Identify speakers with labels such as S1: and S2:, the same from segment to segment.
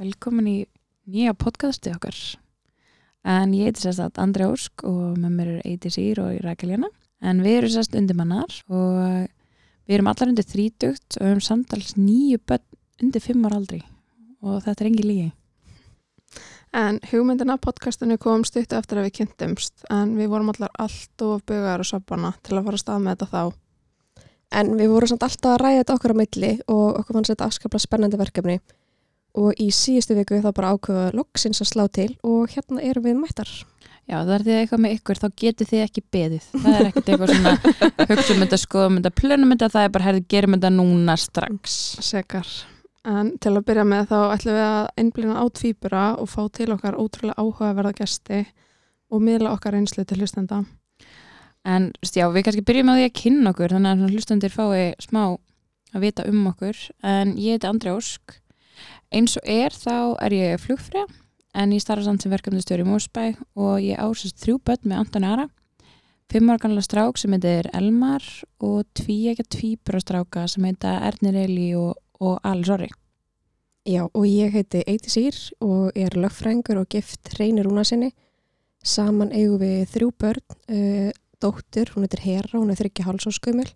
S1: velkomin í nýja podcasti okkar. En ég heiti sérst að Andri Ósk og með mér eru Eiti Sýr og Rækil Jana. En við erum sérst undir mannar og við erum allar undir þrítugt og höfum samtals nýju börn undir fimm ára aldri. Og þetta er engin lígi.
S2: En hugmyndina að podcastinu kom stutt eftir að við kynntumst en við vorum allar allt of bugaðar og sabbana til að fara að staða með þetta þá.
S3: En við vorum samt alltaf að ræða þetta okkar á milli og okkur fannst þetta afskaplega spennandi verkefni. Og í síðustu viku þá bara ákveða loksins að slá til og hérna erum við mættar.
S1: Já, það er því eitthvað með ykkur, þá getur þið ekki beðið. Það er ekkert eitthvað svona hugsa mynda, skoða mynda, plöna mynda, það er bara herðið gerum þetta núna strax.
S2: Sekar. En til að byrja með þá ætlum við að einblina á tvíbura og fá til okkar ótrúlega áhugaverða gesti og miðla okkar einslu til hlustenda.
S1: En þú veist, já, við kannski byrjum á því að kynna okkur þannig að svona hlustendur fái smá að vita um okkur en ég heiti Andri Ósk eins og er þá er ég flugfræða en ég starfa samt sem verkefnistjóri í Mósbæ og ég ásist þrjú börn með Anton Ara fimm ára gamla strák sem heitir Elmar og tvíegja tvíbrastráka sem heita Ernir Eli og, og Alice Orri
S3: Já, og ég heiti Eiti Sýr og er lögfrængur og gift reynir rúna sinni. Saman eigum við þrjú börn, uh, dóttur, hún heitir Hera, hún er þryggja hálsáskumil,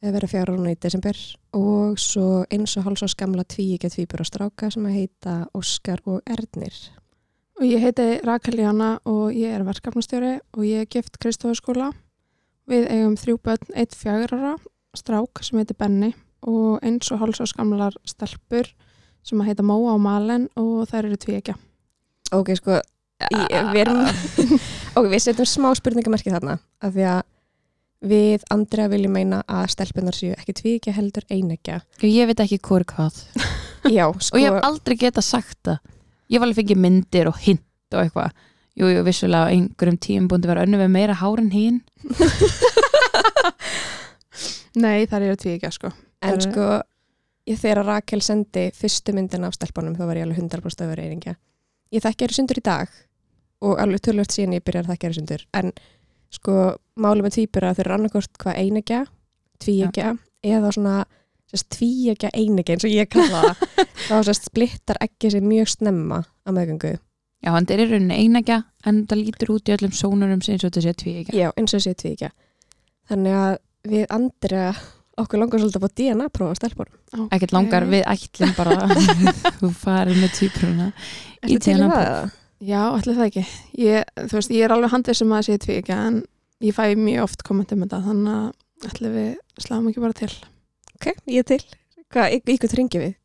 S3: verða fjara hún í desember og svo eins og hálsáskamla tvíikja tvíbur og stráka sem að heita Óskar og Ernir.
S2: Og ég heiti Rakel Jana og ég er verkefnastjóri og ég er gift Kristóðaskóla. Við eigum þrjú börn, eitt fjagrara, strák sem heitir Benni og eins og hálsáskamlar stelpur sem að heita Móa og Malen og þær eru tvíekja.
S3: Ok, sko, ég, við erum ok, við setjum smá spurningamerki þarna af því að við Andrea viljum meina að stelpunar séu ekki tvíkja heldur einekja
S1: og ég veit ekki hvori hvað
S3: já,
S1: og
S3: sko,
S1: ég hef aldrei geta sagt það ég var alveg fengið myndir og hint og eitthvað jú, jú, vissulega á einhverjum tíum búin að vera önnu með meira hár en hinn
S2: Nei, þær eru tvíekja sko.
S1: Eh.
S3: en sko ég þegar Rakel sendi fyrstu myndina af stelpunum þá var ég alveg 100% að vera einekja ég þekki eru sundur í dag og alveg tölvöld síðan ég byrjar að þekki eru sundur en sko, máli með tvíbur að þau eru annarkort hvað einekja tvíekja, eða svona sérst, tvíekja einekja eins og ég kalla það þá sérst, splittar ekki sér mjög snemma að meðgöngu
S1: Já, en þeir eru rauninni einægja en það lítur út í öllum sónurum sem eins og þetta sé tvíægja.
S3: Já, eins og sé tvíkja. Þannig að við andri að okkur langar svolítið að fá DNA prófa á stelpunum.
S2: Okay.
S1: Ekkert langar við ætlum bara þú farir með týpruna. Í
S3: Ertu til í
S1: DNA
S3: það?
S1: próf.
S3: eða?
S2: Já, allir það ekki. Ég, þú veist, ég er alveg handið sem að sé tvíkja en ég fæ mjög oft kommentum þetta þannig að allir við sláum ekki bara til.
S3: Ok, ég er til. Hvað, y- ykkur ringi við?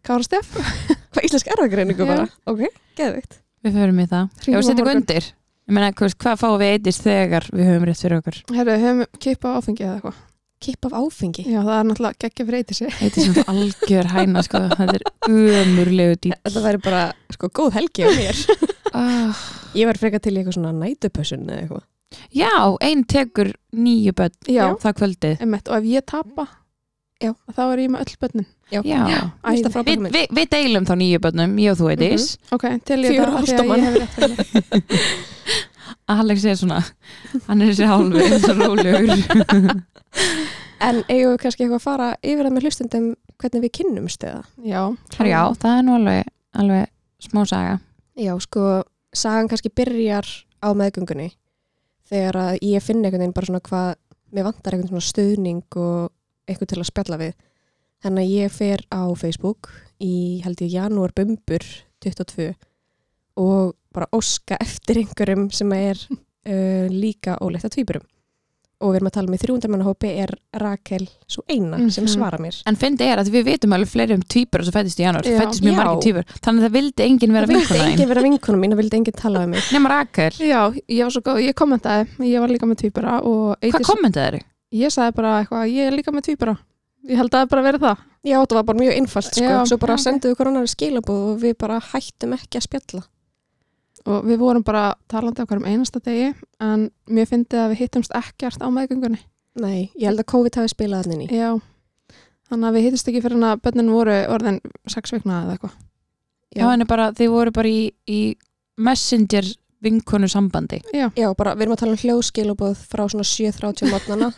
S2: Kára Steff?
S3: Hvað, íslensk erðagreiningu
S2: Já.
S3: bara? Ok, geðvikt.
S1: Við förum í það. Já,
S3: Hringjum
S1: við
S3: á
S1: setjum
S3: morgun.
S1: undir. Ég meina, hvað, hvað fáum við eitist þegar við höfum rétt fyrir okkur?
S2: Herru, höfum kippa áfengi eða eitthvað.
S3: Kipp af áfengi.
S2: Já, það er náttúrulega geggja fyrir eitið sig.
S1: Eitist sem algjör hæna, sko. Þetta er umurlegu dýtt.
S3: Þetta væri bara, sko, góð helgi á mér.
S1: Ah,
S3: ég var frekar til í eitthvað svona nætupössun eða eitthvað.
S1: já, einn tekur nýju börn
S2: Já,
S1: það kvöldið.
S2: einmitt. Og ef ég tapa,
S3: Já.
S2: þá er ég með öll börnin.
S1: Já.
S3: Æ,
S2: Æði.
S1: Við vi, vi deilum þá nýju börnum, ég og þú eitist.
S2: Ok, til ég
S3: Fjögur
S2: það af því að
S3: hálftóman.
S2: ég hef rétt fyrir mér.
S3: Mhm.
S1: Alex er svona, hann er þessi hálfur, eins og rólegur.
S3: En eigum við kannski eitthvað að fara yfir það með hlustundum hvernig við kynnumst eða?
S2: Já.
S1: Já, það er nú alveg, alveg smá saga.
S3: Já, sko, sagan kannski byrjar á meðgöngunni þegar að ég finn einhvern veginn bara svona hvað mér vantar einhvern svona stuðning og eitthvað til að spjalla við. Þannig að ég fer á Facebook í held ég janúar bumbur 22 og bara óska eftir einhverjum sem er uh, líka óleitt að tvíburum. Og við erum að tala með 300 manna hópi er Rakel svo eina sem
S2: Mhm.
S3: svarar mér.
S1: En fyndi er að við vitum alveg fleiri um týpur sem fættist í janúar,
S2: Já.
S1: það fættist mjög
S3: Já.
S1: margir týpur þannig að það vildi enginn vera
S3: Það vildi
S1: vinkona einn
S3: enginn vera vinkunum mín, það vildi enginn tala um mig.
S1: nema Rakel,
S2: Já, ég var svo góð, ég kommentaði, ég var líka með tvíbara og
S1: hvað
S2: Eydís-
S1: kommentaði þeir?
S2: ég sagði bara eitthvað, ég er líka með tvíbara. Ég held að það bara verið það.
S3: Já, það var bara mjög einfalt sko.
S2: Já,
S3: svo bara
S2: já, ok.
S3: senduðu okkur annar skilabóð og við bara hættum ekki að spjalla.
S2: og við vorum bara talandi okkar um einasta degi en mér fyndi að við hittumst ekkert á meðgöngunni
S3: Nei, ég held að COVID hafi spilað hann inn í.
S2: já, þannig að við hittumst ekki fyrir en að bönnin voru orðin sex vikna eða eitthvað
S1: Já, henni bara, þeir voru bara í, í messenger vinkonu sambandi
S3: Já, bara við erum að tala um hljóðskilabóð frá svona 7.30 mótnana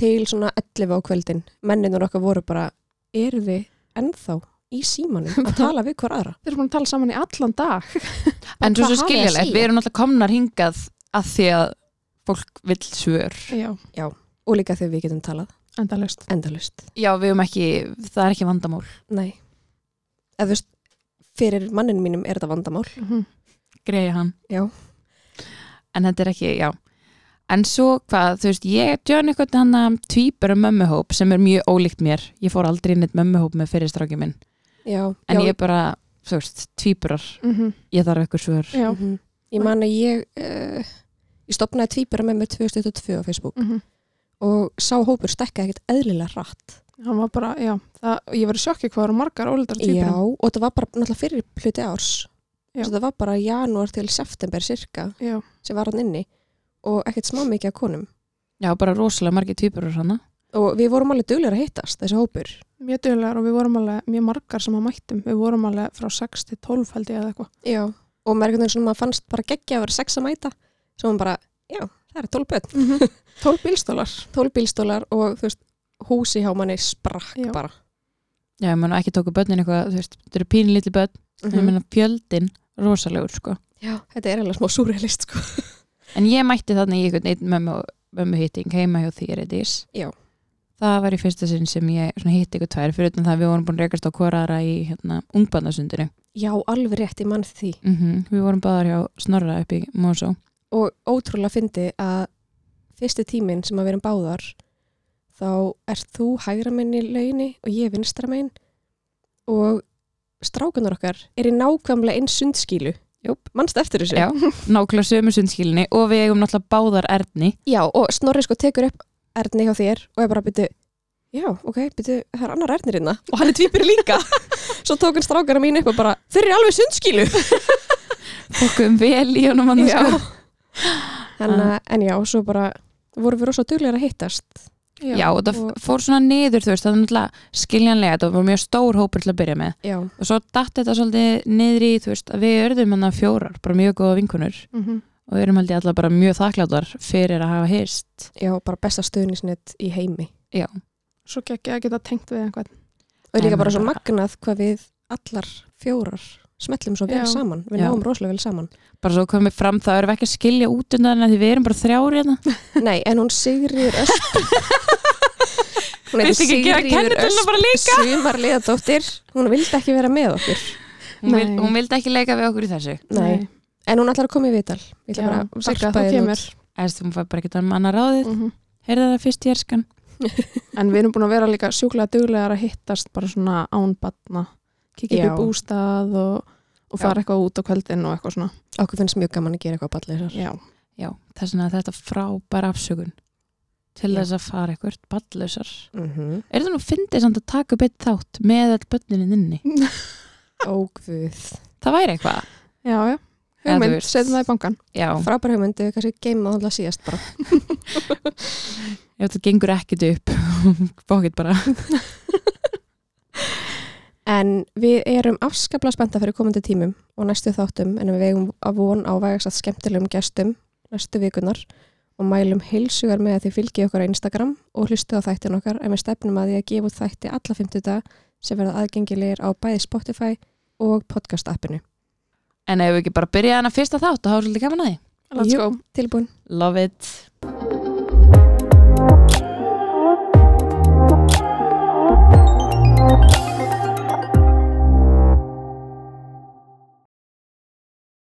S3: til svona 11 á kvöldin. Menninur okkar voru bara, eru við ennþá í símanum að tala við hver aðra.
S2: Þeir eru búin að tala saman í allan dag.
S1: En svo svo
S3: hvað hafa ég að
S1: skiljalegt,
S3: segja?
S1: við erum alltaf komnar hingað að því að fólk vill svör.
S2: Já,
S3: Og líka þegar við getum talað
S2: endalust.
S3: endalust.
S1: Já, við erum ekki, það er ekki vandamál.
S3: Nei. Eða þú veist, fyrir manninu mínum er þetta vandamál.
S2: Mm -hmm.
S1: Greiði hann.
S3: Já.
S1: En þetta er ekki, já. En svo hvað, þú veist, ég djön eitthvað hann að tvýpur um mömmuhóp sem er mjög ólíkt mér. Ég fór aldrei inn eitt mömmuhóp með fyrirstrákið minn.
S3: Já.
S1: En
S3: já,
S1: ég bara, þú veist, tvýpurar, ég þarf eitthvað svör.
S2: mhm, Já, mm
S3: Mhm. Ég man að ég, uh, ég stopnaði tvíbara með mér 2002 á Facebook
S2: mhm.
S3: og sá hópur stekkaði ekkert eðlilega rætt.
S2: hann var bara, já, það, ég var í sjokki hvað eru margar óleittar týpur.
S3: Já, og það var bara náttúrulega fyrir hluti árs.
S2: Já.
S3: Svo það var bara janúar til september cirka
S2: Já,
S3: sem var hann inni og ekkert smá mikið af konum.
S1: Já, bara rosalega margir tvýpurar hana.
S3: Og við vorum alveg duglegar að hittast, þessi hópur.
S2: mjög dögulegar og við vorum alveg mjög margar sem að mættum. Við vorum alveg frá 6 til 12 held ég eða eitthvað.
S3: Já. Og maður einhvern veginn svona maður fannst bara geggja að vera sex að mæta. Svo maður bara, já, það er tólf börn.
S2: Mm -hmm. 12 bílstólar.
S3: Tólf bílstólar og þú veist, húsi hjá manni sprakk
S2: Já.
S3: bara.
S1: Já, ég menna ekki tóku börnin eitthvað, þú veist, þetta eru pínlítli börn,
S3: Mhm.
S1: en ég menna fjöldin rosalegur, sko.
S3: Já, þetta er eiginlega smá súrealist sko.
S1: En ég mætti þarna í einhvern einn mömmu, mömmu hitting heima hjá þér, Edís.
S3: Já.
S1: Það var í fyrsta sinn sem ég svona, hitti ykkur tvær, fyrir utan það að við vorum búin að rekast á korara í hérna, ungbarnasundinu.
S3: Já, alveg rétt, ég mann því.
S1: Mm Við vorum báðar hjá Snorra upp í Mosó.
S3: Og ótrúlega fyndi að fyrsti tíminn sem að vera báðar, þá ert þú hægra minn í lauginni og ég vinstra minn og strákunar okkar er í nákvæmlega einn sundskílu.
S1: Júp.
S3: Manst eftir þessu?
S1: Já. Nákvæmlega sömu sundskilinni og við eigum náttúrulega báðar erni.
S3: Já, og Snorri sko tekur upp erðni hjá þér og er bara að byrja, já, ok, byrja, það er annar erðnir hérna og hann er tvípir líka. Svo tók hann strákana mín upp og bara, þeir eru alveg sundskílu.
S1: Fokkum um vel í honum annars.
S3: Já. En, en já, svo bara vorum við rosa duglegar að hittast.
S1: Já, og það
S3: og-
S1: fór svona niður, þú veist, það er náttúrulega skiljanlega, það var mjög stór hópur til að byrja með.
S3: Já.
S1: Og svo datt þetta svolítið niður í, þú veist, að við örðum hann fjórar, bara mjög góða vinkunur
S2: Mm -hmm.
S1: og við erum held ég allar bara mjög þakkláttar fyrir að hafa heyrst.
S3: Já, bara besta stuðnisnett í heimi.
S2: Svo gekk ég að geta tengt við einhvern.
S3: Og líka
S1: En
S3: bara svo
S1: bara-
S3: magnað hvað við allar fjórar smellum svo vel
S2: Já.
S3: saman. Við
S1: Já.
S3: náum rosalega vel saman.
S1: Bara svo komið fram, það erum við ekki að skilja út undan henni því við erum bara þrjár hérna.
S3: Nei, en hún Sigriður Ösp. hún
S1: Viltu ekki gera kennitöluna bara líka?
S3: Sumarliðadóttir. Hún vildi ekki vera með okkur.
S1: Hún, vil,
S2: Nei.
S1: hún vildi ekki leika við okkur í þessu.
S3: Nei. En hún allar að koma í vital. Ég
S2: Já,
S3: ætla bara að
S2: Sigga,
S3: varpa
S2: þú
S3: hérna
S2: kemur.
S3: út.
S1: Æst, hún fær bara ekki um annað ráðið.
S2: Mm
S1: Heyrðu það fyrst í erskan.
S2: En við erum búin að vera líka sjúklega duglegar að hittast bara svona ánbatna, kikið
S3: Já.
S2: upp í bústað og, og fara eitthvað út á kvöldin og eitthvað svona.
S3: Okkur finnst mjög gaman að gera eitthvað ballið þessar.
S2: Já.
S1: Já, þess vegna er þetta frábæra afsökun til
S3: Já.
S1: þess að fara eitthvað ballausar.
S3: Mm -hmm.
S1: Er það nú fyndið samt að taka upp eitt þátt með all börnininn inni?
S3: Ógvöð.
S1: Það væri eitthvað.
S2: Já, já.
S1: Eða þú
S2: Hugmynd,
S1: veist.
S2: setjum það í bankan.
S1: Já,
S3: Frábær hugmyndu, kannski geima það alltaf síðast bara.
S1: ef þetta gengur ekkit upp, bókitt bara.
S3: En við erum afskapla spennta fyrir komandi tímum og næstu þáttum en við eigum að von á vægast að skemmtilegum gestum næstu vikunar og mælum heilsugar með að þið fylgið okkur á Instagram og hlustu á þættin okkar en við stefnum að því að gefa út þætti alla 50 dag sem verða aðgengilegir á bæði Spotify og podcast appinu.
S1: En ef við ekki bara byrja hana fyrsta þátt og hafa svolítið gaman að því.
S2: Let's
S3: Jú.
S2: go.
S3: Tilbúin.
S1: Love it.